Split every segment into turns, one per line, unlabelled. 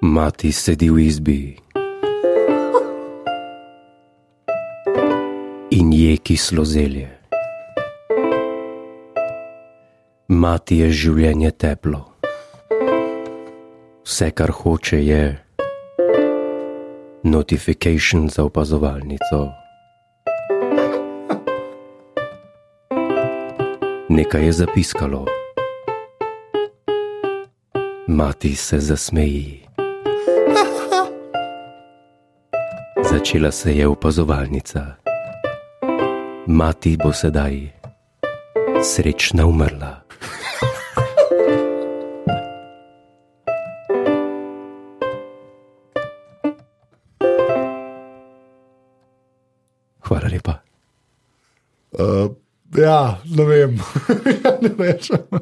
Mati sedi v izbi in je kislo zelje. Mati je življenje teplo. Vse, kar hoče, je notification za opazovalnico. Nekaj je zapiskalo. Mati se zasmeji. Začela se je opazovalnica. Mati bo sedaj srečna umrla. Hvala lepa.
Uh, ja, ne vem, ja, ne rečem.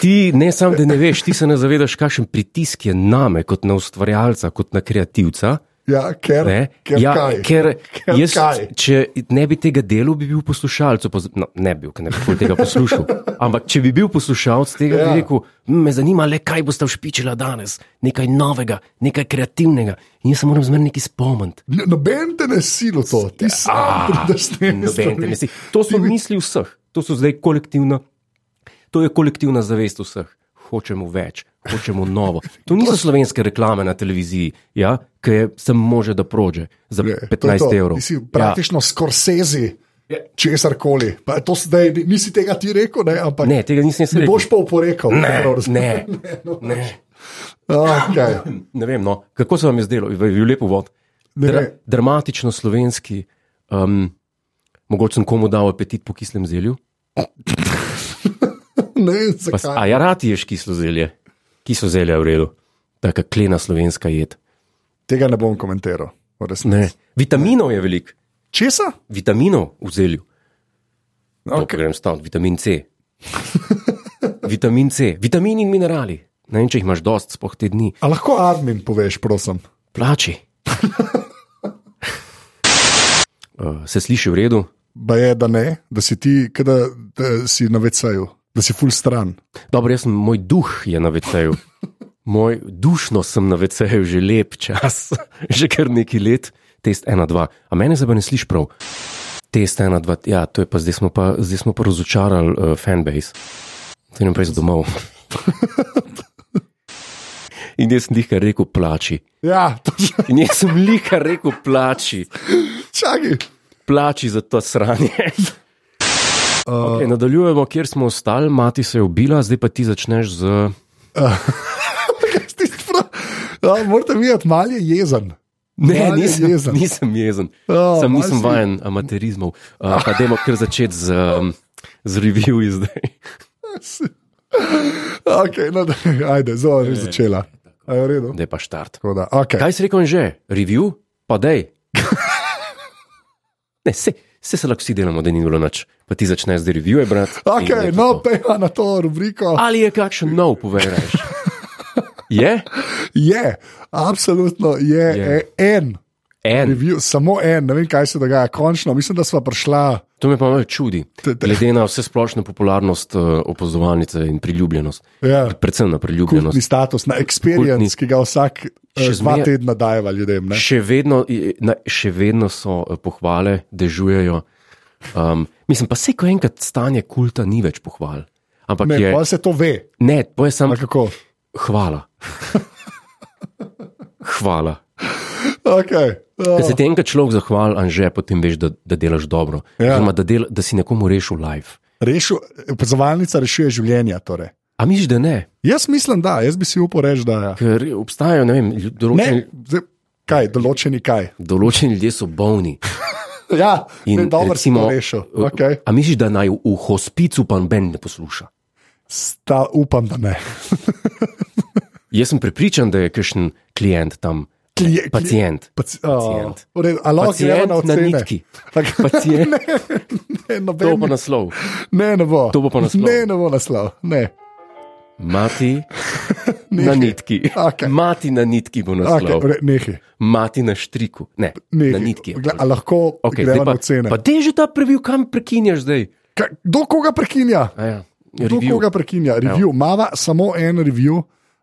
Ti ne samo, da ne veš, ti se ne zavedaš, kakšen pritisk je name, kot na ustvarjalca, kot na kreativca.
Ja, ker,
Ne?
ker
ja,
kaj?
ker
Ker
jaz,
kaj?
če ne bi tega delal, bi bil poslušalec. opoz- No, ne bi bil, ker ne bi nikoli tega poslušal. Ampak če bi bil poslušalec tega, ja.
Ja.
bi rekel: "Mm, Me zanima le, kaj boste všpičila danes, nekaj novega, nekaj kreativnega. In jaz se moram zmerno nekaj spomniti.
N- Noben te ne silo to, ti sam prideš s tem.
Ja. Ah, Noben te ne si- To so misli vseh, to so zdaj kolektivna, to je kolektivna zavest vseh. Hočemo več, hočemo novo. To niso slovenske reklame na televiziji, ja, ki je sem može, da prođe za 15 evrov.
Ti si
Ja.
praktično ja. skorsezi,
Ja.
česar koli. Pa to zdaj ni- nisi tega ti rekel, ne, ampak
Ne, tega nisem jaz
ne
rekel.
boš no, pač. pa oporekal.
Ne,
prav razumem.
ne, ne.
Okay.
Ne vem, no. kako se vam je zdelo, je bil lep uvod.
Ne
Dra
vem.
dramatično slovenski, um, mogoče sem komu dal apetit po kislem zelju.
Ne vem,
Pa, s-
zakaj.
a ja, rad ješ kislo zelje, kislo zelje je v redu, taka klena slovenska jed.
Tega ne bom komentiral. v resnici.
Ne. Vitaminov je veliko,
Česa?
vitaminov v zelju. Okay. Grem staviti, vitamin C. vitamin C, vitamini in minerali. Ne vem, če jih imaš dost, spoh te dni.
A lahko admin poveš, prosim.
Plači. Uh, Eh, se sliši v redu?
Ba je, da ne, da si ti, ke da, da si na vecaju, da si full stran.
Dobro, jaz sem, moj duh je na VC-ju. Moj dušno sem na VC-ju že lep čas, že kar nekaj let, test 1-2. A mene se pa ne sliši prav. Test 1-2, ja, to je pa zdaj smo pa, zdaj smo pa razočarali uh, fanbase. Zdaj nam pa je domov. In jaz sem jih kar rekel, plači.
Ja, točno.
In jaz sem jih kar rekel, plači.
čakaj.
plači za to sranje. Uh,
Eh,
okay, nadaljujemo, kjer smo ostali, mati se je ubila, zdaj pa ti začneš z.
Tisti fra- Ja, Morate videti, malo je jezen.
Ne,
Malo je
nisem jezen.
jezen.
Nisem jezen.
Ja,
Oh, Sam
malo
nisem
si-
vajen amaterizmov. Uh, pa dajmo kar začeti z, um, z revijami zdaj.
Okay, no, da, ajde, zelo je že začela. A je v redu?
Daj pa štart.
Tako Da, okay.
Kaj si rekel že? Review? Pa dej. Ne, se, se, se lahko vsi delamo, da ni bilo noč. Pa ti začneš zdaj revije brati. in je
Okay,
to
no,
to.
pejva na to rubriko.
Ali je kakšen nov, povej, reš. Je?
Je, absolutno je,
Je.
je. en.
En.
Review, samo en, ne vem, kaj se dogaja. Končno, mislim, da smo prišla.
To me pa malo čudi,
Te- te-
glede na vse splošno popularnost eh, opazovalnice in priljubljenost.
Ja.
Predvsem na
kultni
priljubljenost.
status, na experience,
Kultni.
ki ga vsak
Še
še dva
zmeraj-
tedna dajeva ljudem. Ne?
Še vedno, eh, na, še vedno so eh, pohvale, dežujejo. Um, mislim pa, se ko enkrat stanje kulta ni več pohval. Ampak
Ne,
ne, je,
pa se to ve,
ne, to je samo
ali kako.
hvala. Hvala.
Okay.
Če se
Uh,
ti enkrat človek zahvali, anže, potem veš, da, da delaš dobro.
Ja.
Oziroma, da, del, da si nekomu rešil life.
rešu, opazovalnica rešuje življenja. Torej.
A misliš, da ne?
Jaz mislim, da, jaz bi si upal reči, da ja.
Ker obstajajo, ne vem, ljud- določeni,
ne, zdaj, kaj, določeni kaj.
določeni ljudje so bolni.
Ja,
In
in dobro si
recimo,
to rešil. Okay.
A misliš, da naj v hospicu pa noben ne posluša?
Sta, upam, da ne.
Jaz sem prepričan, da je kakšen klient tam,
Klije- klije-
pacijent.
Paci oh,
Pacient.
redu, ali lahko gremo
Pacient
na
na
ocene?
nitki.
Tako-
Pacient.
ne,
To
noben,
bo naslov.
ne, ne bo.
to bo pa naslov.
Ne, ne bo naslov. Ne.
Mati
Nehaj.
na nitki.
Okej.
Mati na nitki bo naslov.
Okay, re, nehaj.
Mati na štriku. Ne,
Ne,
na nitki. je
gla-
prav.
a lahko okay,
Okej,
gremo
zdaj
na
pa,
ocene.
pa te že ta previl, kam prekinjaš zdaj?
Ka, kdo koga prekinja?
A Ja,
Kdo
review. Ja.
koga prekinja? Review. Mava samo en review.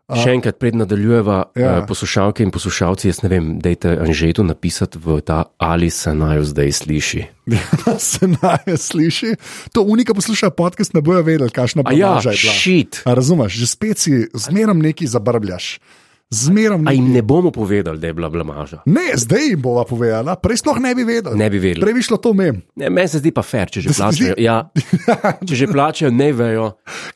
Še enkrat, pred nadaljujeva,
Ja.
ja. poslušalke in poslušalci, jaz ne vem, dajte Anžetu napisati v ta ali se naj jo zdaj sliši.
da se naj sliši. To unika posluša podcast, ne bojo vedeli, kakšna
A ja,
bombaža je bila.
šit.
A Razumeš, že spet si zmeram neki zabrbljaš. Zmeram
A
neki.
jim ne bomo povedali, da je bila blamaža.
Ne, zdaj jim bova povedala, prej sploh ne bi vedela.
Ne bi vedeli.
Prej bi šlo to mem.
Ne, meni se zdi pa fair, če že
se zdi-
plačajo. Ja, če že plačajo, ne vejo.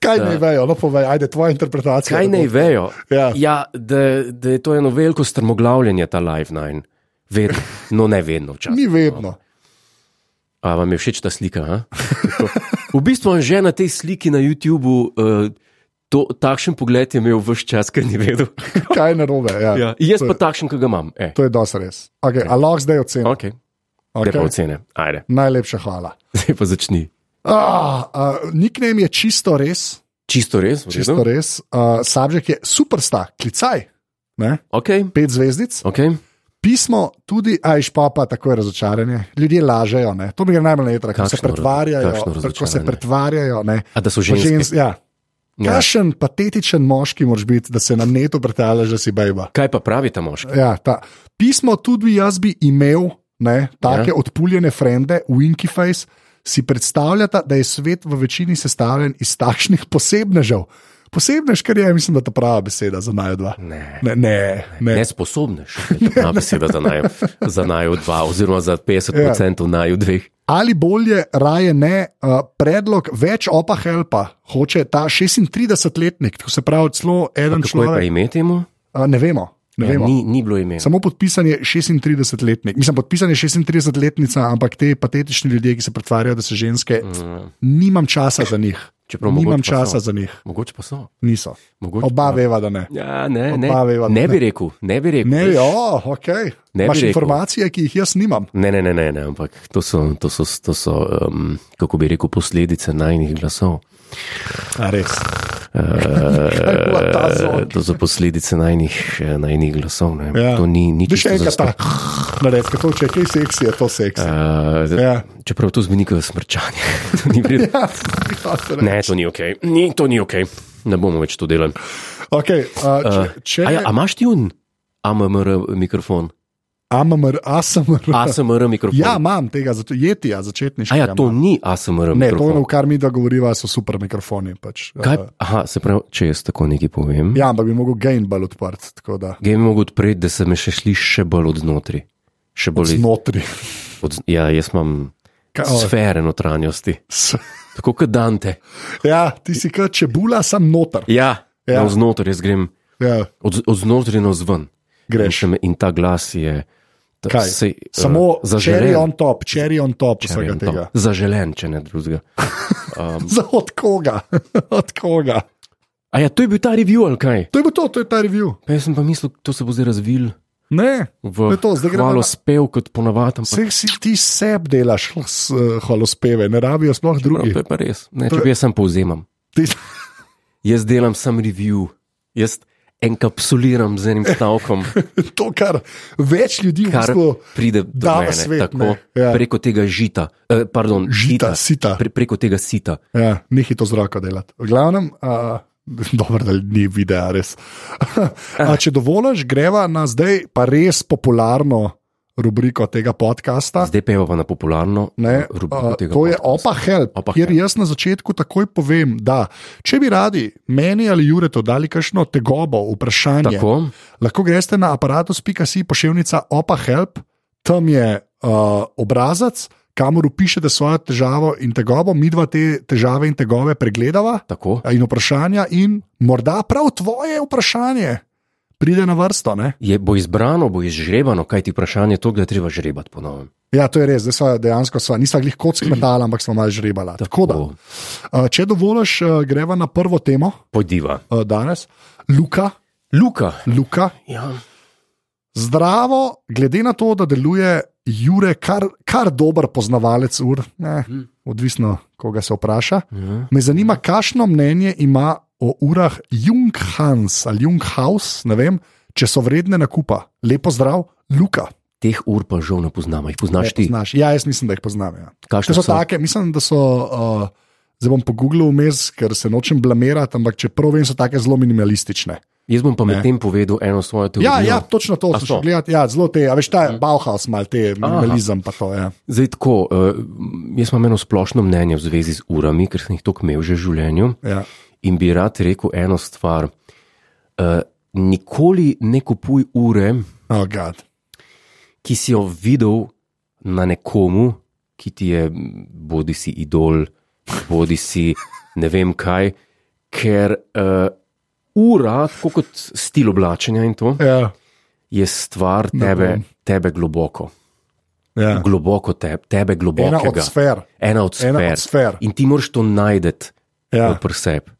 Kaj naj vejo, no povej, ajde, tvoja interpretacija.
Kaj
da bo-
naj vejo?
Ja.
Ja, da, da je to eno veliko strmoglavljanje, ta live nine. Vedno, no ne vedno včasih.
Ni vedno.
A vam je všeč ta slika? a? To- V bistvu je že na tej sliki na YouTubu. Uh, To, takšen pogled je imel vse čas, ker ni vedel.
Kaj ne robe. Ja.
Ja, jaz pa takšen, ki ga imam. E,
To je dosti res. Okay, a lahko zdaj ocenim.
okay. Zdaj pa
Okay.
ocene. Ajde,
Najlepša hvala.
zdaj pa začni.
Ah, uh, Niknem je čisto res,
Čisto res? v redu?
čisto res. Uh, Subjekt je superstar, klicaj, ne?
Okay.
pet zvezdic.
Okay.
Pismo tudi, ajš pa pa tako je razočaranje. Ljudje lažejo, ne? to mi je najbolj nejetra, ko
Kakšno raz-
se pretvarjajo.
kakšno
Ko se
razočaranje.
pretvarjajo, ne.
A da so
Pa
ženske.
Žens, ja.
Ja.
Kakšen patetičen moški moraš biti, da se na netu pretvarjaš, da si bejba.
Kaj pa pravi ta moški?
Ja, ta. Pismo tudi jaz bi imel, ne, take ja. odpuljene frende, winky face. Si predstavljate, da je svet v večini sestavljen iz takšnih posebnežev? Posebnež, kar je, mislim, da je ta prava beseda za naj dva.
Ne.
Ne, ne, ne. ne.
Nesposobnež, ta beseda za naj, za naj dva, oziroma za 50% ja. naj dveh.
Ali bolje, raje ne, uh, predlog več opa helpa, hoče ta 36-letnik, to se pravi, celo
Kako je
en
pa
človek.
ime temu?
Uh, ne vemo, ne
Ja,
vemo.
ni, ni bilo ime.
Samo podpisan je 36-letnik. Mislim, podpisan je 36-letnica, ampak te patetični ljudje, ki se pretvarjajo, da so ženske, mm. nimam časa za njih.
Čeprav
nimam
mogoče pa
časa
so.
za njih,
Mogoče pa so.
niso.
Mogoče
Oba veva, da ne.
Ja, ne, ne.
Oba veva, da
ne
ne.
bi rekel, ne bi rekel.
Ne, jo, okay.
Ne bi
Imaš
rekel.
informacije, ki jih jaz nimam.
Ne, ne, ne, ne, ne, ampak to so, to so, to so um, kako bi rekel, posledice najnih glasov.
A res. ta
Uh,
zvok?
to so posledice najnih, eh, najnih glasov. Ne.
Ja.
To ni nič.
Da še enkrat ta, naredka, to če je kaj seksi, je to seksi.
Uh,
Ja.
Čeprav to zveni kot smrčanje, to ni vredno.
Ja, to se reče.
Ne, to ni ok, ni, to ni ok, ne bomo več to delali.
okay, uh, če, če
A, ja, a imaš ti un AMR mikrofon,
AMR, ASMR.
ASMR mikrofon?
Ja, imam tega, zato jetija začetniškega.
a ja, to
imam.
ni ASMR
Ne, to,
mikrofon.
v kar mi da govoriva, so super mikrofoni. Pač.
Kaj,
Eh,
aha, se pravi, če jaz tako nekaj povem.
Ja, ampak bi mogel gain bolj odprt, tako da
Game mogo odpreti, da se me še sliši še bolj od znotraj. Še bolj iz-
znotri.
od, ja, jaz imam
Ka- o,
sfere notranjosti,
s-
tako kot Dante.
Ja, ti si kot čebula, sam noter.
Ja,
Ja.
ja. znotraj jaz grem,
Ja,
od, od znotraj na zven.
greš.
In, še me- in ta glas je. ta-
Kaj?
sej, eh,
Samo cherry
zaželen.
on top, cherry on top
Cherry
vsega
on
tega.
top. Ja Zaželen, če ne drugega.
Za od koga? od koga?
A ja, to je bil ta review ali kaj?
To je bilo to, to je ta review.
Pa jaz sem pa mislil, to se bo zdaj razvil
Ne, To
v
je to, zdaj gremo
malo
na-
spev kot ponavadi. ampak-
vse si ti seb delaš, s, eh, holospeve, ne rabijo sploh
No,
drugi.
to je pa res. Ne, če
To je-
bi jaz sam povzemam.
Ti,
Jaz delam sam review, jaz enkapsuliram z enim stavkom,
to, kar več ljudi v
kar
bistvu
pride do
Da v
mene.
svet,
tako,
ne, ja.
Preko tega žita, eh, pardon, žita,
žita, sita.
pre, preko tega sita.
Ja, nekaj to z roko delati. V glavnem, uh, dobro, da ni videa, res. a, če dovoliš, greva na zdaj pa res popularno rubriko tega podcasta.
Zdaj peva pa na popularno
Ne,
eh, rubriko
a,
tega.
to je
podcasta.
opa help,
Opa
opa kjer
help.
jaz na začetku takoj povem, da če bi radi meni ali Juretu dali kakšno tegobo, vprašanje,
Tako,
Lahko greste na aparatus.si pošiljka opa help, tam je uh, obrazac, kamor upišete svojo težavo in tegobo, mi dva te težave in tegove pregledava
tako.
eh, in vprašanja, in morda prav tvoje vprašanje pride na vrsto. Ne?
Je, bo izbrano, bo izžrebano, kaj ti vprašanje je to, da je treba žrebati ponovno.
Ja, to je res, zdaj sva dejansko sva, nisva glih kot skmetala, ampak sva malo žrebala. Tako da, uh, če dovoliš, uh, greva na prvo temo
Pojdiva.
uh, danes. Luka,
Luka.
Luka,
Ja.
Zdravo, glede na to, da deluje Jure, kar, kar dober poznavalec ur, ne, odvisno, koga se vpraša.
Mhm. Ja.
Me zanima, kakšno mnenje ima o urah Junghans ali Junghaus, ne vem, če so vredne nakupa. Lepo zdrav, Luka.
Teh ur pa žal ne poznamo, jih
Ne
poznaš ti.
Poznaš. Ja, jaz mislim, da jih poznam. Ja.
Kakšne
To so
so?
take, mislim, da so uh, Zdaj bom pogooglil vmes, ker se nočem blamirati, ampak čeprav vem, so take zelo minimalistične.
Jaz bom pa medtem povedal eno svojo teorijo.
Ja, ja točno to,
A
če
so? Mhm.
gledate, ja, zelo te, a veš, ta Bauhaus, malo te minimalizem, pa to je. Ja.
Zdaj tako, eh, jaz imam eno splošno mnenje v zvezi z urami, ker sem jih tako imel že v življenju.
Ja.
In bi rad rekel eno stvar. Eh, Nikoli ne kupuj ure,
Oh, God.
ki si jo videl na nekomu, ki ti je m, bodi si idol, bodi si ne vem kaj, ker uh, ura, tako kot stil oblačenja in to,
ja,
je stvar
Ne
tebe,
bom.
tebe globoko.
ja.
Globoko te, tebe,
Ena od
globokega.
sfer.
Ena od
Ena
sfer.
od sfer.
In ti moraš to najti ja.
Ja.
pri sebi.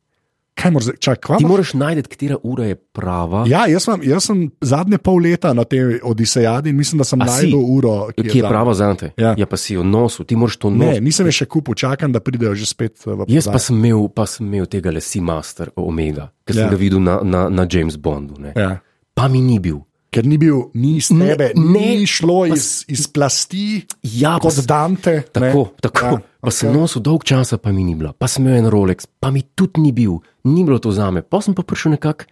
Kaj moraš, zdaj- čakaj, kva?
Ti
ima-
moraš najti, katera ura je prava,
Ja, jaz, imam, jaz sem zadnje pol leta na tej Odisejadi in mislim, da sem
A si?
najdel uro, ki je,
ki je
tam.
prava za te.
Ja.
ja, pa si jo nosil, ti moraš to
Ne,
nositi.
nisem je še kupil, čakam, da pridejo že spet eh, v
Jaz pa
prodaj.
sem imel, pa sem imel tega le Seamaster Omega, ki sem
Ja.
ja. ga videl na, na, na James Bondu. Ne.
Ja.
Pa mi ni bil.
Ker ni bil, ni iz
Ne,
tebe,
ne,
ne, ni šlo
pa
iz, iz plasti,
Ja, pa
kot
sem,
Dante.
tako,
ne.
tako. Ja,
Ja,
pa okay. sem
okej.
nosil dolg časa, pa mi ni bila. Pa sem imel en Rolex, pa mi tudi ni bil, ni bilo to za me. Pa sem pa prišel nekako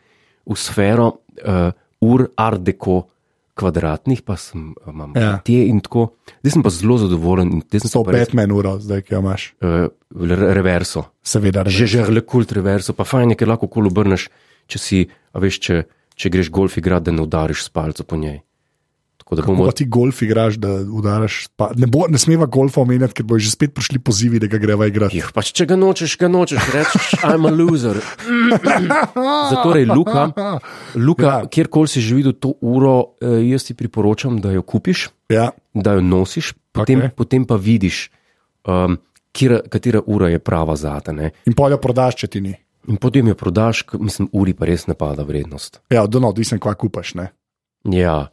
v sfero uh, ur art deco kvadratnih, pa sem eh, imam
Ja.
ja. te in tako. Zdaj sem pa zelo zadovoljen in te sem
To
pa res,
Batman uro, zdaj ki jo imaš,
uh, reverso.
seveda.
že
Že,
že le kult reverso, pa fajn je, ker lahko kol obrneš, če si, a veš, če, če greš golf igrat, da ne udariš s palco po njej. Tako da bomo
Pa ti golf igraš, da udaraš. Pa, ne, bo, ne smeva golfa omenjati, ker bojo že spet prišli pozivi, da ga greva igrati.
jih pač, če ga nočeš, ga nočeš, rečeš, I'm a loser. Zatorej, Luka, Luka ja. kjerkoli si že videl to uro, eh, jaz ti priporočam, da jo kupiš,
Ja,
da jo nosiš, potem,
Okej.
okay. potem pa vidiš, um, kira, katera ura je prava za te. ne.
in polja prodaš, če ti ni.
In potem jo prodaš, k- mislim, uri pa res napada vrednost.
Ja, odno, odvisen, kva kupaš. Ne?
Ja,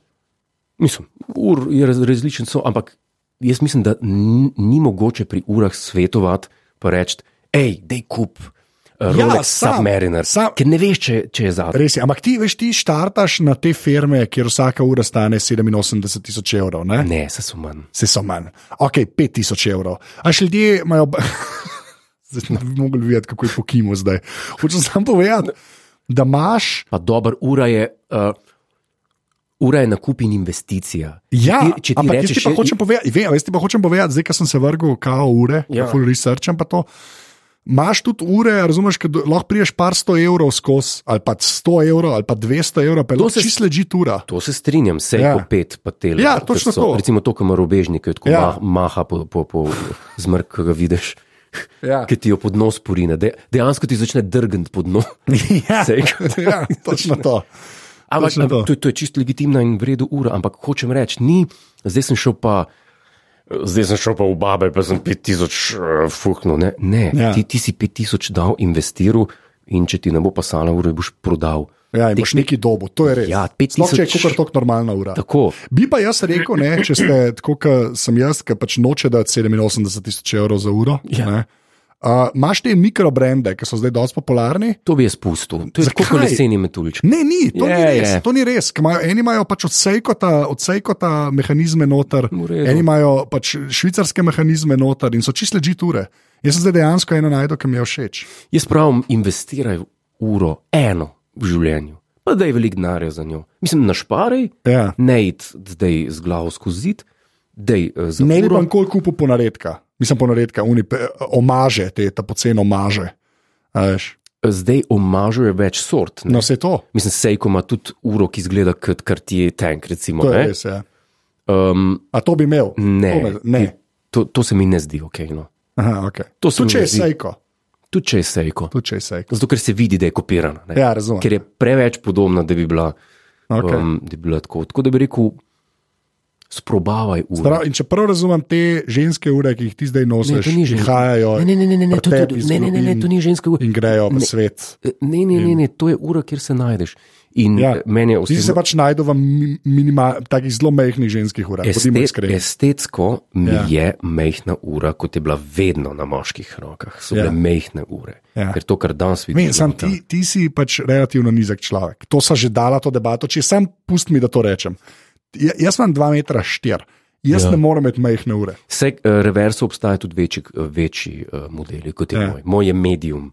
mislim, ur je raz, različen, so, ampak jaz mislim, da ni, ni mogoče pri urah svetovati, pa reči, hej, dej kup. eh, Rolex ja,
sam,
sam, Submariner,
sam.
sam. ker ne veš, če, če je zadnji.
Res je, ampak ti veš, ti štartaš na te firme, kjer vsaka ura stane 87 tisoč evrov. Ne?
Ne, se so manj.
Vse so manj. Ok, 5000 evrov. A še ljudje imajo. b- Zdaj ne bi mogli videti, kako je po Kimu zdaj. Hočem samo povedati, da imaš.
Pa dober, ura je, uh, ura je nakup in investicija.
Ja,
če ti, če ti
ampak jaz
rečeš,
ti pa
je-
hočem povedati, vem, a jaz ti pa hočem povedati, zdaj, ko sem se vrgel v kao ure, ja.
Ja.
full researchem pa to. Máš tudi ure, razumeš, da lahko priješ par sto evrov skozi, ali pa 100 evrov, ali pa 200 evrov, pa je lahko
se-
čist leži tura.
To se strinjam, vse
Ja.
ja. po pet, pa tele.
Ja,
ker
točno
so,
to.
Recimo to, kar ima robežnik, ki jo tako
Ja.
ja. mah, maha po, po, po zmrk, ki ga vidiš.
Ja.
Ki ti jo pod nos porine, De, dejansko ti začne drgati pod nos.
Ja,
Sejk.
ja, točno to.
Ampak
Točno
to.
to.
To, to je čisto legitimna in vredna ura, ampak hočem reči, ni, zdaj sem šel pa. Zdaj sem šel pa v babe, pa sem 5000 uh, fuhnil. Ne, ne. Ja.
Ja.
Ti, ti si 5000 dal, investiral in če ti ne bo pasala ura, boš prodal.
Ja, in
Teh
boš neki dobo, to je res.
Ja,
Sploh, če je
5000
kot tako normalna ura.
Tako,
Bi pa jaz rekel, ne, če ste tako, kot sem jaz, ki pač noče dati 87 tisoč evrov za uro.
Ja.
ne. Uh, Máš te mikrobrende, ki so zdaj dosti popularni?
to bi jaz pustil. To je
Zakaj?
kot leseni metuljček.
Ne, ni, to
Je,
ni res.
je.
To ni res. ker Imajo, eni imajo pač odsejkota, odsejkota mehanizme noter,
V redu.
eni imajo pač švicarske mehanizme noter in so čiste džiture. Jaz sem zdaj dejansko eno najdel, ki mi je všeč.
Jaz pravim, investiraj v uro, eno v življenju, pa da je veliko denarja za njo. Mislim, našparaj,
Ja.
ne id zdaj z glavo skozi zid, da je za
Ne bi
uro.
pa nikoli kupil ponaredka, nisem ponaredka, uni, pe- omaže, te ta poceni omaže. A veš.
eh, Zdaj omažuje več sort.
No,
No.
vse to,
Mislim, Sejko ima tudi uro, ki izgleda kot kartier tank. Recimo,
to je
ne?
res. Ja.
Um,
A to bi imel? To,
ne,
me- ne.
To, to se mi ne zdi ok. No.
Aha, okay.
To se
Tudi
mi
če je
ne zdi.
sejko.
Tudi če je Sejko.
Tudi če je sejko.
Zato, ker se vidi, da je kopirana. ne.
Ja, razumem.
Ker je preveč podobna, da bi bila,
Okej.
okay. um, da bi bila tako. Tako da bi rekel, sprobavaj uro.
Prav, in če prav razumem te ženske ure, ki jih ti zdaj
Ne,
nosiš,
to ni ženska.
prihajajo
Ne, ne, ne, ne, ne, ne, to,
pri
to,
tebi iz
ne, ne, ne, ne, to
globin
ni ženska ura.
in grejo v svet.
Eh, Ne, ne, ne, ne, to je ura, kjer se najdeš. In
Ja.
ja. meni je
Ti
osebno
se pač najdu v mi- minima- takih zelo mehkih ženskih urah, bodimo
Este,
iskreni.
estetsko mi
Ja.
ja. je mehna ura, kot je bila vedno na moških rokah. So bile
Ja.
ja. mehne ure.
Ja.
Ja. Ker to, kar danes
Vem,
vidim,
sam ti, ti si pač relativno nizek človek. To so že dala to debato, če sam pusti mi, da to rečem. Ja- Jaz imam 2,4 metra štir. Jaz ja. ne morem imeti majhne ure.
Vse uh, reverso obstaja tudi večji, eh, večji uh, modeli kot je ja.
Ja.
moj. Moj je medium,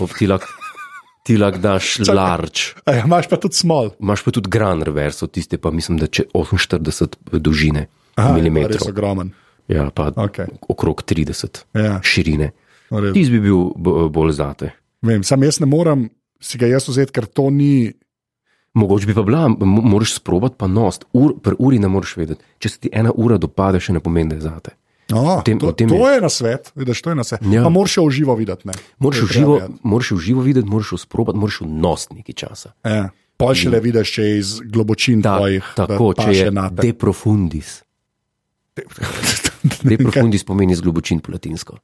Ob ti lahko lak daš large.
A ja, imaš pa tudi smol.
Imaš pa tudi gran reverso, tiste pa mislim, da če 48 dolžine
je ja, res
mm.
ogromen.
Ja, pa
Okej.
okrog 30
Ja,
širine.
v redu.
Ti bi bil b- bolj zate.
Vem, sam jaz ne morem si ga jaz vzeti, ker to ni.
Mogoče bi pa bila, m- moraš sprobati pa nost. Ur, pri uri ne moreš vedeti. Če se ti ena ura dopade, še ne pomeni, da je zate.
No,
tem-
tem, to,
o tem
to
je-
je na svet, vidiš, to je na svet.
Ja.
Ja. Pa moraš še v živo videti. ne.
Moraš
To
v
je ja. treba
živo,
vedeti.
moraš v živo videti, moraš usprobati, moraš v nos nekaj časa.
Ja. Pol še le vidiš, če je iz globočin
Ta,
tvojih.
tako, če je
nate.
de profundis.
Ja.
De profundis pomeni z globočin po latinsko.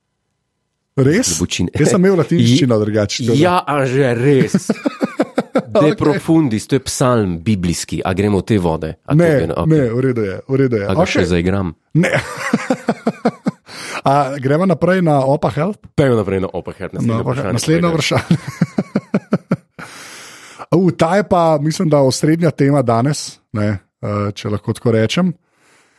Res?
Globočin.
Jaz sem imel latinščino drugače. tako da-
Ja, a že res. De
Okej.
profundis, to je psalm biblijski, a gremo v te vode. A to
Ne,
je, a,
ne, v redu je. V redu je.
a ga še
Okay.
zaigram.
Ne. A, gremo naprej na Opa Help.
Pejmo naprej na opahert,
No,
naslednje vprašanje.
naslednje
kolega.
vprašanje. Uh, ta je pa, mislim, da osrednja tema danes, ne, eh, če lahko tako rečem.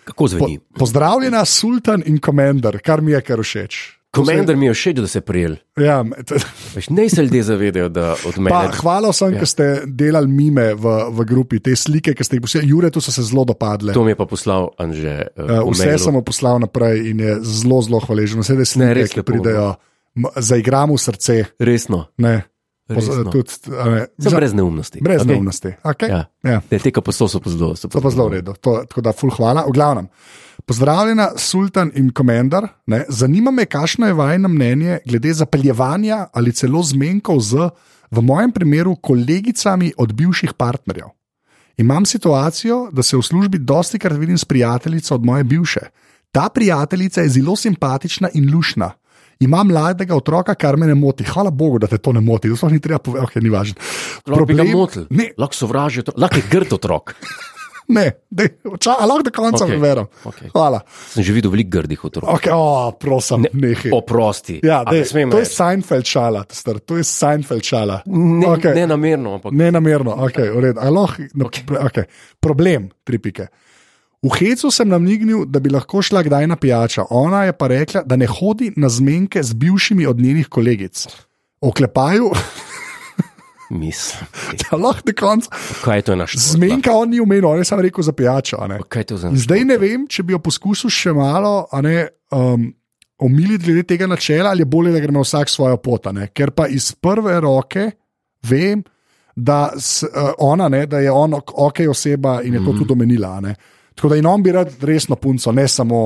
Kako
Po,
zveni?
pozdravljena, sultan in komandar, kar mi je kar všeč. To se-
Komendar mi je všeč, da se prijel.
Ja, me- t-
Veš, naj se ljudje zavedajo, da od
pa,
mene.
hvala vsem, ja. ki ste delali mime v, v grupi, te slike, ki ste jih poslali. Jure, tu so se zelo dopadle.
To mi je pa poslal Anže.
Eh,
Uh,
Vse sem mu poslal naprej in je zelo, zelo hvaležen. Vse
Ne,
te slike,
res
ki
lepo,
pridejo, m- zaigram v srce.
Resno,
Ne, Poz-
Resno.
tudi, a ne,
sem
za-
no. brez neumnosti.
brez
okej?
neumnosti. Okay?
Ja.
Ja. Ja.
Ne, te kaposov so pa zelo.
To pa zelo v redu, to, tako da ful hvala. V glavnem. Pozdravljena, sultan in komendar. Ne. Zanima me, kakšno je vajno mnenje glede zapeljevanja ali celo zmenkov z, v mojem primeru, kolegicami od bivših partnerjev. Imam situacijo, da se v službi dosti krat vidim s prijateljico od moje bivše. Ta prijateljica je zelo simpatična in lušna. Ima mladega otroka, kar me ne moti. Hvala Bogu, da te to ne moti, to sploh ni treba povedati, okay, ni važno.
Lahko bi ga motil,
Ne,
lahko sovražijo, otro- lahko je grd otrok.
Ne, dej, ča, a lahko do konca
Okej,
okay. preberem.
okej.
Okay. Hvala.
Sem že videl veliko grdih otrok.
Okay, oh, prosim, ne, nehaj.
Oprosti.
Ja,
A
dej,
ne smem
to je
reči?
Seinfeld šala, star, to je Seinfeld šala.
Ne,
Okej.
okay. ne namerno, ampak
Ne namerno, okay, v redu. A lahko- no, okay. Problem, tri pike. V hecu sem namignil, da bi lahko šla kdaj na pijačo. Ona je pa rekla, da ne hodi na zmenke z bivšimi od njenih kolegic. Oklepaju,
mislim.
da lahko do konca.
Kaj je to naš
Zmenka on ni umenil, on je samo rekel za pijačo. a ne.
Kaj je to za
In
nas?
zdaj ne vem, če bi jo poskusil še malo a ne, um, omiliti glede tega načela, ali je bolje, da gremo vsak svojo pot. a ne. Ker pa iz prve roke vem, da, s, uh, ona, ne, da je on ok, ok oseba in je to tudi omenila. a ne. Tako da in on bi rad resno punco, ne samo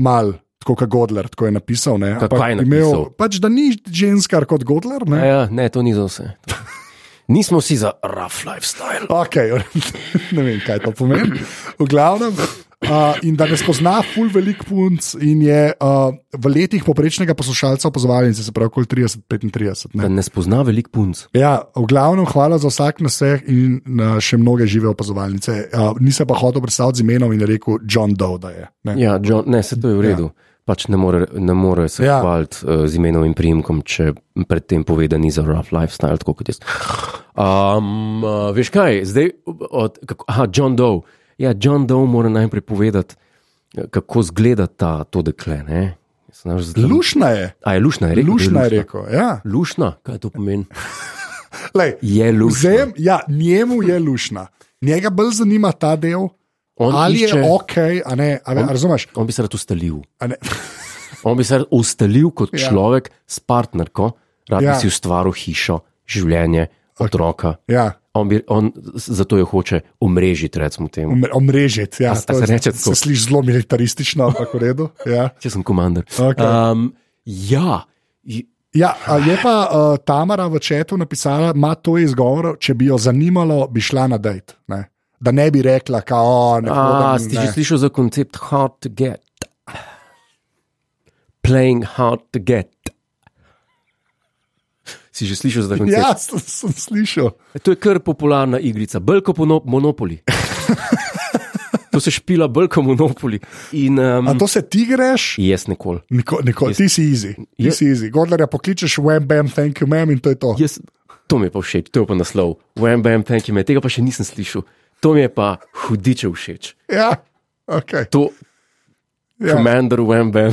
mal. Tako kot Godler, tako je napisal. Ne,
Kako
ampak
je
bi
napisal?
pač, da ni ženskar kot Godler.
A
Ne?
Ja, ne, to ni za vse. Nismo vsi za rough lifestyle.
Okay, ne vem, kaj to pomeni. V glavnem. Uh, in da ne spozna ful velik punc, in je uh, v letih poprečnega poslušalca opozovalnice, se pravi okoli 30-35.
Da
ne.
ne spozna velik punc.
Ja, v glavnem, hvala za vsak naseh in uh, še mnoge žive opazovalnice. Uh, nisem pa hotel predstaviti z imenom in je rekel John Doe, da je. Ne.
Ja, John, ne, se to je v redu. Ja. Pač ne more, ne more se ja.
Ja.
hvaliti uh, z imenom in priimkom, če predtem pove, da ni za rough lifestyle, tako kot jaz. Um, uh, veš kaj, zdaj, od, kako, aha, John Doe. Ja, John Doe mora najprej povedati, eh, kako izgleda ta, to dekle. Ne? Jaz sem naš-
Lušna je,
A je lušna, je rekel.
lušna
da
je rekel. Ja.
Lušna, kaj to pomeni?
Lej,
Je lušna.
vzem, ja, njemu je lušna. Njega bolj zanima ta del,
On
ali
išče-
je ok, a ne, a ne, a razumeš?
On bi se rad ustalil.
A ne.
On bi se rad ustalil kot ja.
Ja.
človek s partnerko, rad ja.
Ja.
bi si ustvaril hišo, življenje, otroka.
Ja.
On, bi, on z- zato jo hoče omrežiti, recimo temu.
Omre- Omrežiti, ja,
A- a
to
se
je-
reče tako?
Se sliši zelo militaristično, ampak v redu. Ja.
Če sem komandar.
Okej.
Um, ja, i-
Ja, a je pa uh, Tamara v četu napisala, ima to izgovor, če bi jo zanimalo, bi šla na dejt. Ne? Da ne bi rekla, kao, ne
a, si
hodim,
že
ne.
slišal za koncept hard to get? Playing hard to get. Si že slišal za ta koncept?
Ja, sem, sem slišal.
To je kar popularna igrica, bolj kot mono, Monopoli. to se špila bolj kot Monopoli. In
A
um,
to se ti greš?
jaz nikoli.
Niko, niko, ti si easy, ti
Jaz-
si easy. Godlerja pokličeš, wem, bam, thank you, ma'am, in to je to.
Jaz, to mi je pa všeč, to je pa naslov. Wham, bam, thank you, man. tega pa še nisem slišal. To mi je pa hudiče všeč.
Ja, okay.
To, ja. Commander Wembem.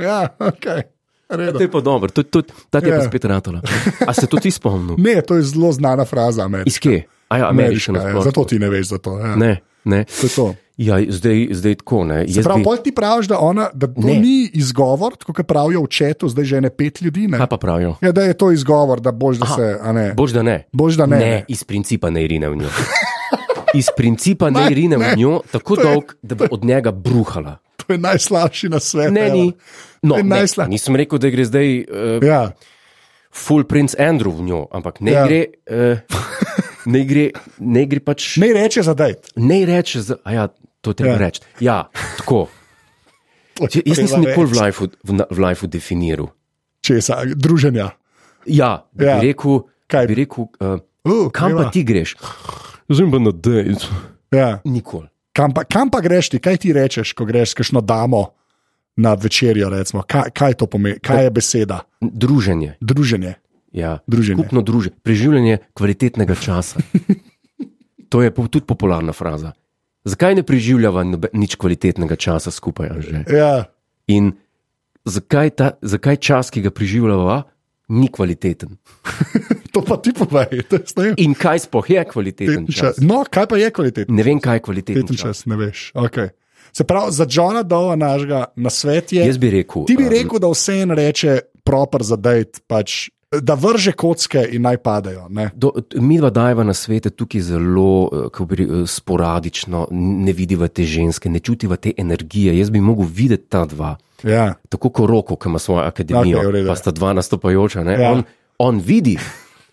ja, okay.
To je pa dobro, tudi, tudi, ta ti je
Ja.
pa spet ratala. A se tudi ti spomnil?
Ne, to je zelo znana fraza.
Iz kje? A ja, ameriška.
Ameriška, ja, zato ti ne veš za to. Ja.
Ne, ne.
To je to.
Ja, zdaj, zdaj tako, ne.
Se
Jaz
pravi,
bi-
pol ti praviš, da, ona, da to
Ne.
ne. ni izgovor, tako kot pravijo v četu, zdaj že ne pet ljudi. Ne?
Kaj pa pravijo?
Ja, da je to izgovor, da boš da se. a Ne.
Bož da ne.
Boš da ne.
Ne, iz principa ne rine v njo. Iz principa ne
Ne,
rine v
ne.
njo tako
To je-
dolg, da bo od njega bruhala.
To je najslabši na svetu. ja.
Ne, ni.
evo.
No,
To je
ne,
najslabše.
nisem rekel, da gre zdaj uh,
Ja.
full prince Andrew v njo, ampak ne
Ja.
gre. Uh, Ne gre, ne gre pač.
Ne reče za dejt.
Ne reče, za- a ja, to treba ja.
Ja.
reči. Ja, tako. Če, jaz nisem nikoli v lifeu, v, na- v lifeu definiral.
Česa, druženja.
Ja, bi ja.
Ja.
rekel,
Kaj?
bi rekel uh,
Uh,
kam pa ti greš? Zdaj pa na dejt.
Ja.
Nikoli.
Kam, pa, kam pa greš ti, kaj ti rečeš, ko greš s kakšno damo na večerjo? Recimo? Kaj, kaj to pomeni, kaj je beseda?
Druženje.
Druženje.
Ja.
Druženje.
Skupno druženje, preživljanje kvalitetnega časa. To je po- tudi popularna fraza. Zakaj ne preživljava nobe- nič kvalitetnega časa skupaj? Anže?
Ja.
In zakaj, ta, zakaj čas, ki ga preživljava, ni kvaliteten?
To pa ti povej, to jaz ne vem.
In kaj sploh je kvaliteten
Kvaliteten čas.
čas?
No, kaj pa je kvaliteten
Ne vem, kaj je kvaliteten čas.
čas, ne veš. Okay. Se pravi, za Johna Dova našega na svet je.
Jaz bi rekel,
Ti bi
um,
rekel, da vse en reče proper za dejt, pač, da vrže kocke in naj padajo. Ne?
Do, mi dva dajva na svete tukaj zelo eh, kako bi rekel, eh, sporadično, n- ne vidiva te ženske, ne čutiva te energije. Jaz bi mogel videti ta dva,
Ja,
tako kot Roko, ki ima svojo akademijo,
Okej, v redu.
pa sta dva nastopajoča. ne.
Ja.
On, on vidi,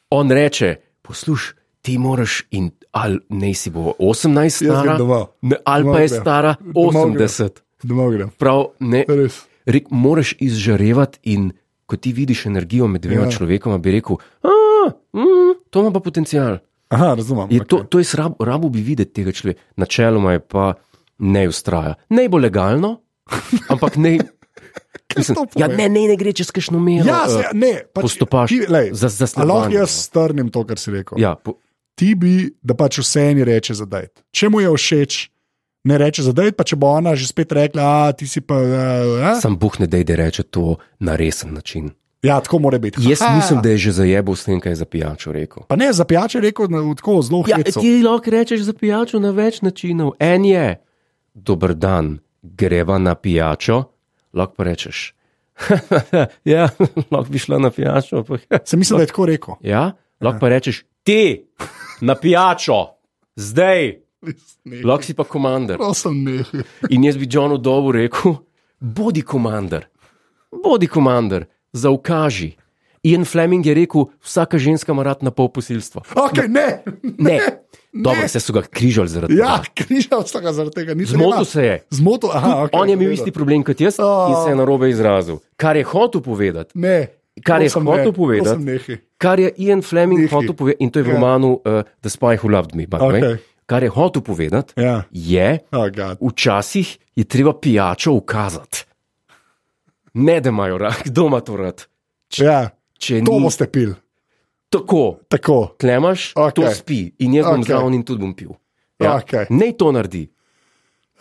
on reče, poslušaj, ti moraš in ali ne si bo 18
Jaz grem
stara,
domov.
ne, ali
Domov
pa je
grem.
stara
Domov grem.
80.
domov grem.
Prav, ne,
Res.
Rek, moraš izžarevati in ko ti vidiš energijo med dvema ja.
Ja.
človekoma, bi rekel, "A, mm, to ima pa potencial.
Aha, razumem.
Je
okej.
To, to je srab, rabo bi videti tega človeka. Načeloma je pa ne ustraja. Naj bo legalno, ampak ne. Mislim,
to
ja,
pove?
ne, ne, ne gre čez kakšno mero.
Ja,
eh,
se, ne, pač,
postopaš
ti- lej,
za- za
a Lahko
sledovanje,
jaz
no.
strnem to, kar si rekel.
ja, po,
Ti bi, da pač vse eni reče za dejt. Če mu je všeč, ne reče za dejt, pa če bo ona že spet rekla, a ti si pa. eh, A, a.
sam Bog ne dej, da reče to na resen način.
Ja, tako mora biti.
Jaz
Ha, ha.
mislim, da je že zajebal s tem, kaj je za pijačo rekel.
Pa ne, za pijače je rekel, da tako zelo
Ja,
hitro.
ti lahko rečeš za pijačo na več načinov. En je, dober dan, greva na pijačo, lahko pa rečeš. ja, lahko bi šla na pijačo. ampak-
Se mislim, da je tako rekel.
ja, lahko pa rečeš ti na pijačo, zdaj, lahko si pa komandar.
Prosim, ne.
In jaz bi Johnu Dovu rekel: Bodi komandar, bodi komandar, zaukaži. Ian Fleming je rekel: Vsaka ženska ima rad na pol posilstva.
Okay, ne.
Ne, dobro, vse so ga križali zaradi
Ja,
tega.
križal sem ga zaradi tega. nisem
Zmotil
imel.
se je.
Zmotil, aha, okay,
On je imel isti problem kot jaz in
Oh.
se je na robe izrazil. Kar je hotel povedati,
Ne.
Kar je
prosim,
hotel
ne,
povedati.
prosim, nehaj.
kar je Ian Fleming
Nekaj.
hotel povedati, in to je v
Ja.
romanu uh, The Spy Who Loved Me, by the way.
Okej.
kar je hotel povedati,
Ja.
je,
Oh, God.
včasih je treba pijačo ukazati. Ne, da imajo rak, kdo ima to rad.
ja,
Če
to
ni
boste pil.
tako,
Tako.
klemaš, okay.
Okej.
to spi in jaz bom
Okej.
okay. zraven in tudi bom pil. Ja.
Okej.
Ne, to naredi.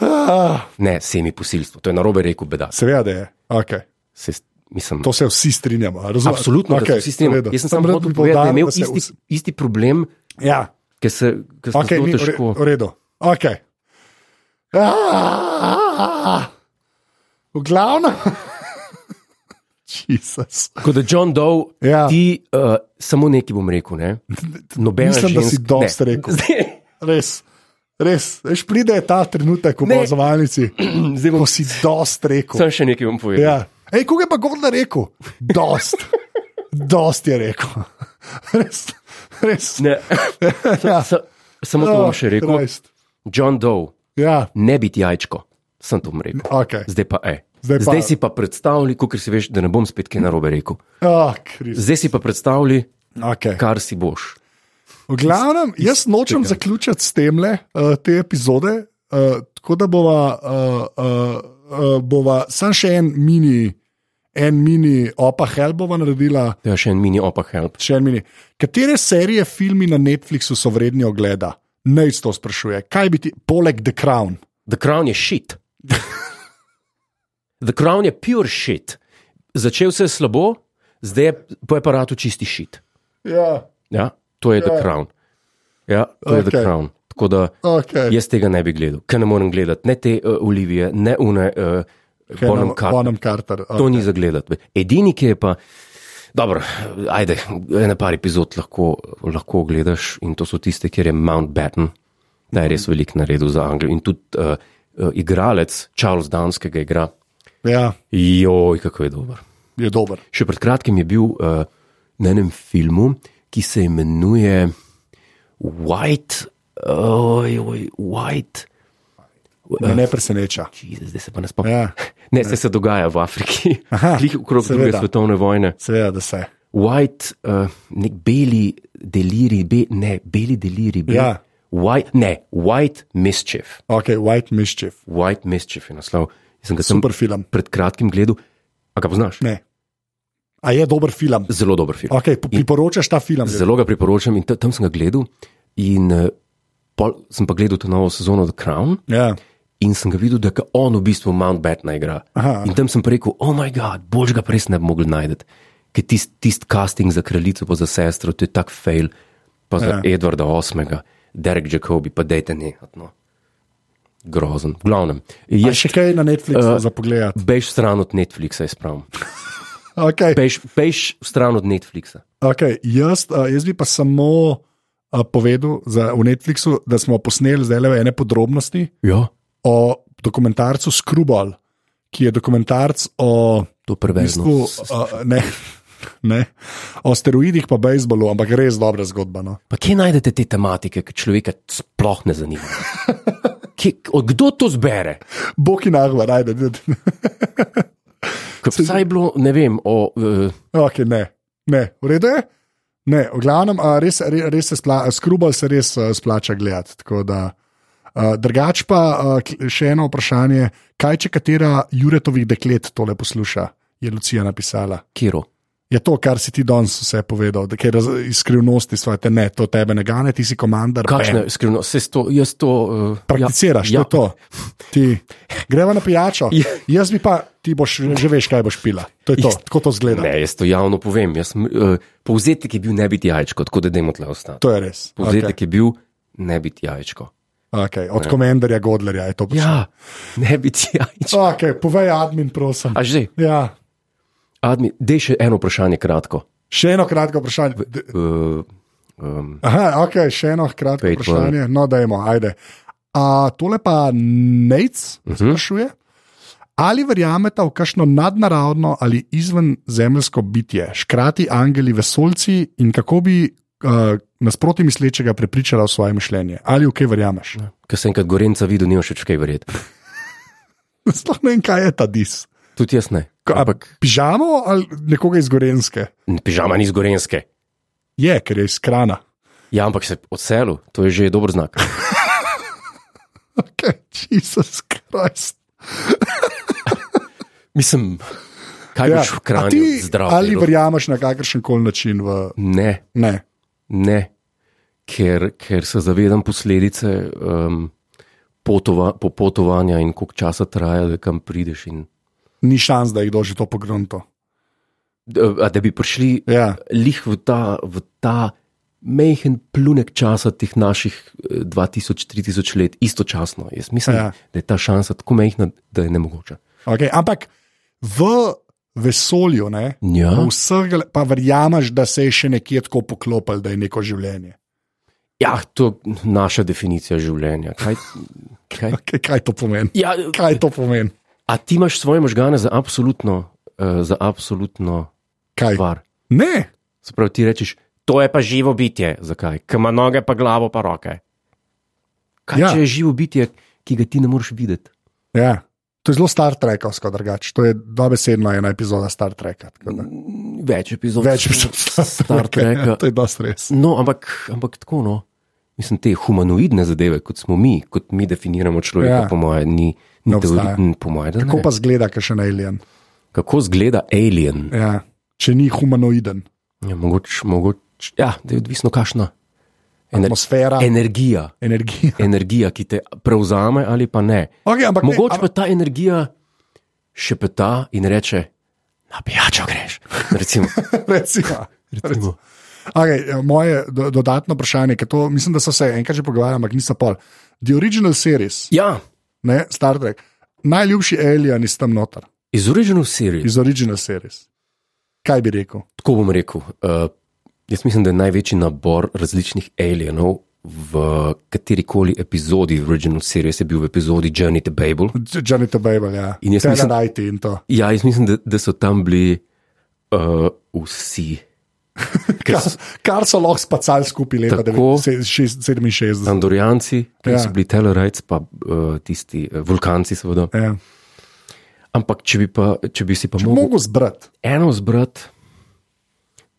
Ah,
Ne, semi posilstvo, to je narobe rekel, beda.
seveda da je. Okay.
Se, mislim,
To se vsi strinjamo. Razumem.
Absolutno, okay, da
Okej,
se vsi strinjamo.
v redu.
Jaz sem samo
rad
hotel
bi
povedati, da je
poudaril,
imel
se
isti,
vsi-
isti problem,
Ja,
ki se ga okay,
okay,
zelo
ni,
težko.
v redu. Okay. Ah, v glavnem. Jezus.
Kot da John Doe, ja.
Ja.
ti uh, samo nekaj bom rekel. Ne? Nobena
Mislim, da si
žensk-
dosti
ne.
rekel.
Zdaj,
Res, res. Veš, pride ta trenutek v
Ne.
opazovalnici,
zdaj bom
ko si dost rekel.
sam še nekaj bom povedal. Ja.
Ja. Ej, koga je pa Gordon rekel? Dost. Dost je rekel. Res, res.
Ne,
Ja.
sa, samo to bom
No,
še rekel.
Res.
John Doe,
Ja,
ne biti jajčko, sem to bom rekel.
ok.
Zdaj pa je.
Zdaj
Zdaj,
pa-
zdaj si pa predstavljaj, ker si veš, da ne bom spet kaj narobe rekel.
Oh, Krist.
Zdaj si pa predstavljaj,
okay.
kar si boš.
V glavnem, jaz nočem zaključiti s tem le uh, te epizode, uh, tako da bova, uh, uh, uh, bova sam še en mini, en mini opa Helbova naredila.
To je še en mini opa help.
Še en mini. Katere serije, filmi na Netflixu so vredni ogleda? Nec to sprašuje. Kaj bi ti, poleg The Crown?
The crown je shit. The Crown je pure shit. Začel se je slabo, zdaj je po aparatu čisti shit.
Ja,
Ja, to je The Crown. Ja, to je The
Okej.
Crown. Tako da
okay.
jaz tega ne bi gledal, ker ne morem gledati ne te uh, Olivije, ne une uh, Bonham Carter.
Bonham Carter. eh,
To
ok.
ni za gledati. Edini, ki je pa, dobro, ajde, ena par epizod lahko, lahko gledaš in to so tiste, kjer je Mountbatten, da je res
Mhm.
velik naredil za Anglijo. In tudi uh, uh, igralec, Charles Downs, ki ga igra,
Ja,
joj, kako je dober.
je dober.
Še pred kratkim je bil uh, na enem filmu, ki se imenuje White, oj, oj, White. Ja.
Me ne preseneča.
Jezus, zdaj se pa ne spomnim.
Ja.
Ne, se, se dogaja v Afriki,
Aha,
glih okrog druge
seveda.
svetovne vojne.
Seveda, da se.
White, uh, nek beli deliri, be, ne, beli deliri, be,
Ja.
white, ne, white mischief.
Ok, White Mischief,
White mischief je naslov. Jaz sem ga sem
super film.
pred kratkim gledal. A ga poznaš?
Ne. A je dober film?
Zelo dober film.
Ok, po- priporočaš ta film.
Zelo ga priporočam in ta- tam sem ga gledal. In uh, pol sem pa gledal to novo sezono The Crown
Ja.
in sem ga videl, da ga on v bistvu Mountbatten igra.
Aha.
In tam sem pa rekel, oh moj bog, boljš ga pa res ne bi mogel najti. Ker tisti tist casting za kraljico, pa za sestro, to je tak fail, pa za ja. Edwarda VIII, Derek Jacobi, pa dejte ne. No. Grozen, v glavnem.
Je
Ješ,
še kaj na Netflixu
Eh,
uh, za pogled?
bejš stran od Netflixa, jaz pravim.
Okay.
Bejš, bejš stran od Netflixa.
Okay, jaz, a, jaz bi pa samo a, povedal za, v Netflixu, da smo posneli zdaj le ene podrobnosti
Ja,
o dokumentarcu Skrubal, ki je dokumentarc o,
to
v
preveč.
bistvu, a, ne, ne, o steroidih pa bejzbolu, ampak res dobra zgodba. No.
Pa kje najdete te tematike, ki človeka sploh ne zanimajo? Kje, od kdo to zbere?
Bog in ahva, ajde.
Ker Vsaj je bilo, ne vem, o. Uh,
Okay, ne, ne, v redu je. Ne, v glavnem, a, res, res, res se splača, skrubal se res a, splača gledati. tako da, a, Drugač pa a, k- še eno vprašanje, kaj če katera Juretovih deklet tole posluša, je Lucija napisala.
Kiro.
Je to, kar si ti danes vse povedal, da je raz- iz skrivnosti svoje, te ne, to tebe ne gane, ti si komandar. bam.
Kakšna skrivnost, se to, jaz to. Uh,
Prakticiraš, ja, ja. to je to. Ti greva na pijačo.
Ja.
Jaz bi pa, ti boš, že veš, kaj boš pila. To je no. to,
Jaz-
tako to zgleda.
Ne, jaz to javno povem. Jaz, sem, uh, povzetek je bil ne biti jajčko, tako da dajmo tle ostati.
To je res.
Povzetek okay. je bil ne biti jajčko.
Okay, od komendarja Godlerja je to prišlo.
Ja, ne biti jajčko.
Okay, povej, admin, prosim.
A že,
Ja.
admin, dej še eno vprašanje kratko.
Še eno kratko vprašanje. D-
Uh, um,
Aha, ok, še eno kratko
Pejt,
vprašanje. No, dajmo, ajde. A, tole pa Nec sprašuje. Ali verjamete v kakšno nadnaravno ali izvenzemeljsko bitje, škrati, angeli, vesolci in kako bi uh, nasproti mislečega prepričala v svoje mišljenje? Ali v kaj verjameš?
Ker sem enkrat gorenca videl, ni še kaj verjeti.
Sploh ne vem, kaj je ta dis.
Tudi jaz ne.
Ko- a Pižamo ali nekoga iz Gorenske?
Pižama ni iz gorenske.
Je, ker je iz krana.
Ja, ampak se odselil, to je že dober znak.
Okay, Jezus Krist.
Mislim, kaj ja. boš v
A
kraju
ti
zdrav?
ali
jedel?
verjameš na kakršen koli način? V...
Ne,
Ne.
ne, ker, ker se zavedam posledice um, potova, popotovanja in koliko časa traja, da kam prideš. In,
Ni šans, da jih doži to pogrunto.
da, a da bi prišli eh,
Ja,
lih v ta, v ta mehen plunek časa teh naših eh, 2000-3000 let istočasno. Jaz mislim, ja.
Ja.
da je ta šansa tako mehna, da je nemogoča.
okay. Ampak v vesolju, ne,
Ja.
pa, vseh, gal- pa verjameš, da se je še nekje tako poklopil, da je neko življenje.
Ja, to je naša definicija življenja. Kaj, kaj?
Okay, kaj to pomeni?
Ja,
Kaj to pomeni?
a ti imaš svoje možgane za absolutno, uh, za absolutno
Kaj?
stvar.
Ne,
Se pravi, ti rečeš, to je pa živo bitje. Zakaj? Ker ima noge, pa glavo, pa roke. Kaj ja.
Ja.
če je živo bitje, ki ga ti ne moreš videti?
ja. to je zelo Star Trekovsko drugače. To je dobesedno ena epizoda Star Treka. tako da.
Več epizod,
Več epizod ja,
Star Treka.
To je dosti res.
No, ampak, ampak tako no. Mislim, te humanoidne zadeve, kot smo mi, kot mi definiramo človeka, ja.
Ja.
po mojem, ni, ni
Ne obstaja.
teoretičen, po mojem. da
Kako
ne.
pa zgleda, kaj še na alien?
Kako izgleda alien?
Ja. Če ni humanoiden,
Ja, mogoč, mogoč, ja, da je odvisno, kakšna Ener
atmosfera, en
energija,
energija.
energija, ki te prevzame ali pa ne.
Okay, ampak, ne,
Mogoče
am-
pa ta energija šepeta in reče: Na pijačo greš. Recimo,
Recimo.
recimo.
Okay, moje do, dodatno vprašanje, ker to mislim, da so se enkrat že pogovarjali, ampak niso pol. The original series,
Ja,
ne, Star Trek, najljubši alien iz tam noter,
iz original serije.
iz original series. Kaj bi rekel?
Tako bom rekel. Uh, jaz mislim, da je največji nabor različnih alienov v kateri koli epizodi original series je bil v epizodi Journey to Babel.
Janet Babel, ja.
In jaz mislim-
najti in to.
Ja, jaz mislim, da, da so tam bili uh, vsi. Ker
Kar,
so
kar so lahko spacali skupaj leta
Tako.
1967.
Andorjanci, ki
Ja.
ja. so bili Telerajci, pa uh, tisti uh, vulkanci, seveda.
Ja.
Ampak če bi, pa, če bi si pa mogel
Mogoče zbrati,
eno zbrati,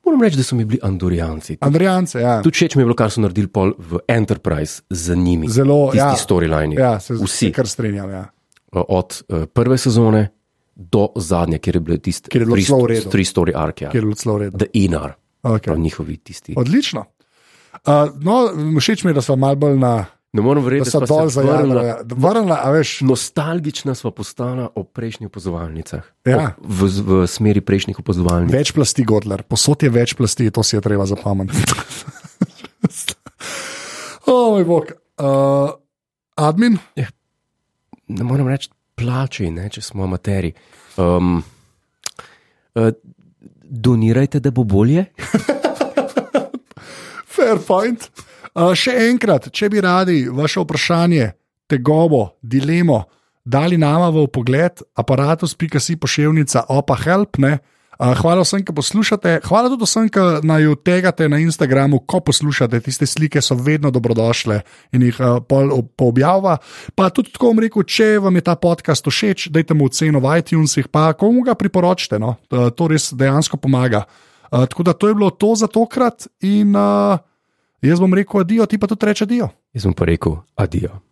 moram reči, da so mi bili Andorjanci.
Andrijance, ja.
Tudi všeč mi je bilo, kar so naredili pol v Enterprise z njimi.
Zelo,
tisti
ja.
storyline.
ja, se,
Vsi,
se kar strinjam. Ja.
od eh, prve sezone do zadnje, kjer je bilo tisto,
Kjer je bilo
tri,
celo v redu.
tri story arke, ja.
Kjer je bilo celo redo.
The Inar,
Okay.
prav njihovi tisti.
Odlično. Uh, no, všeč mi je, da smo malo bolj na.
Ne morem
Da
verjeti,
so
da
dol ja.
so se vrnili.
zajadrili. Vrnila, a veš,
Nostalgična smo postala ob prejšnjih opazovalnicah,
Ja.
Ob- v, v smeri prejšnjih opazovalnic.
več plasti, Godler, posod je več plasti, to si je treba zapomniti. o, moj bog. Uh, admin,
Ne morem reči, plači, ne, če smo amateri. Um, uh, donirajte, da bo bolje.
fair point. Uh, še enkrat, če bi radi vaše vprašanje, tegobo, dilemo, dali nama v pogled, aparatus.si pošiljka, opa help. Ne? Uh, hvala vsem, ki poslušate, hvala tudi vsem, ki naj tegate na Instagramu, ko poslušate, tiste slike so vedno dobrodošle in jih uh, pol ob- poobjavlja. Pa tudi tako vam rekel, če vam je ta podcast všeč, dajte mu oceno v iTunesih, pa komu ga priporočite, no? uh, to res dejansko pomaga. Uh, tako da to je bilo to za tokrat in uh, jaz bom rekel adijo, ti pa tudi reče adijo.
Jaz bom pa rekel, adijo.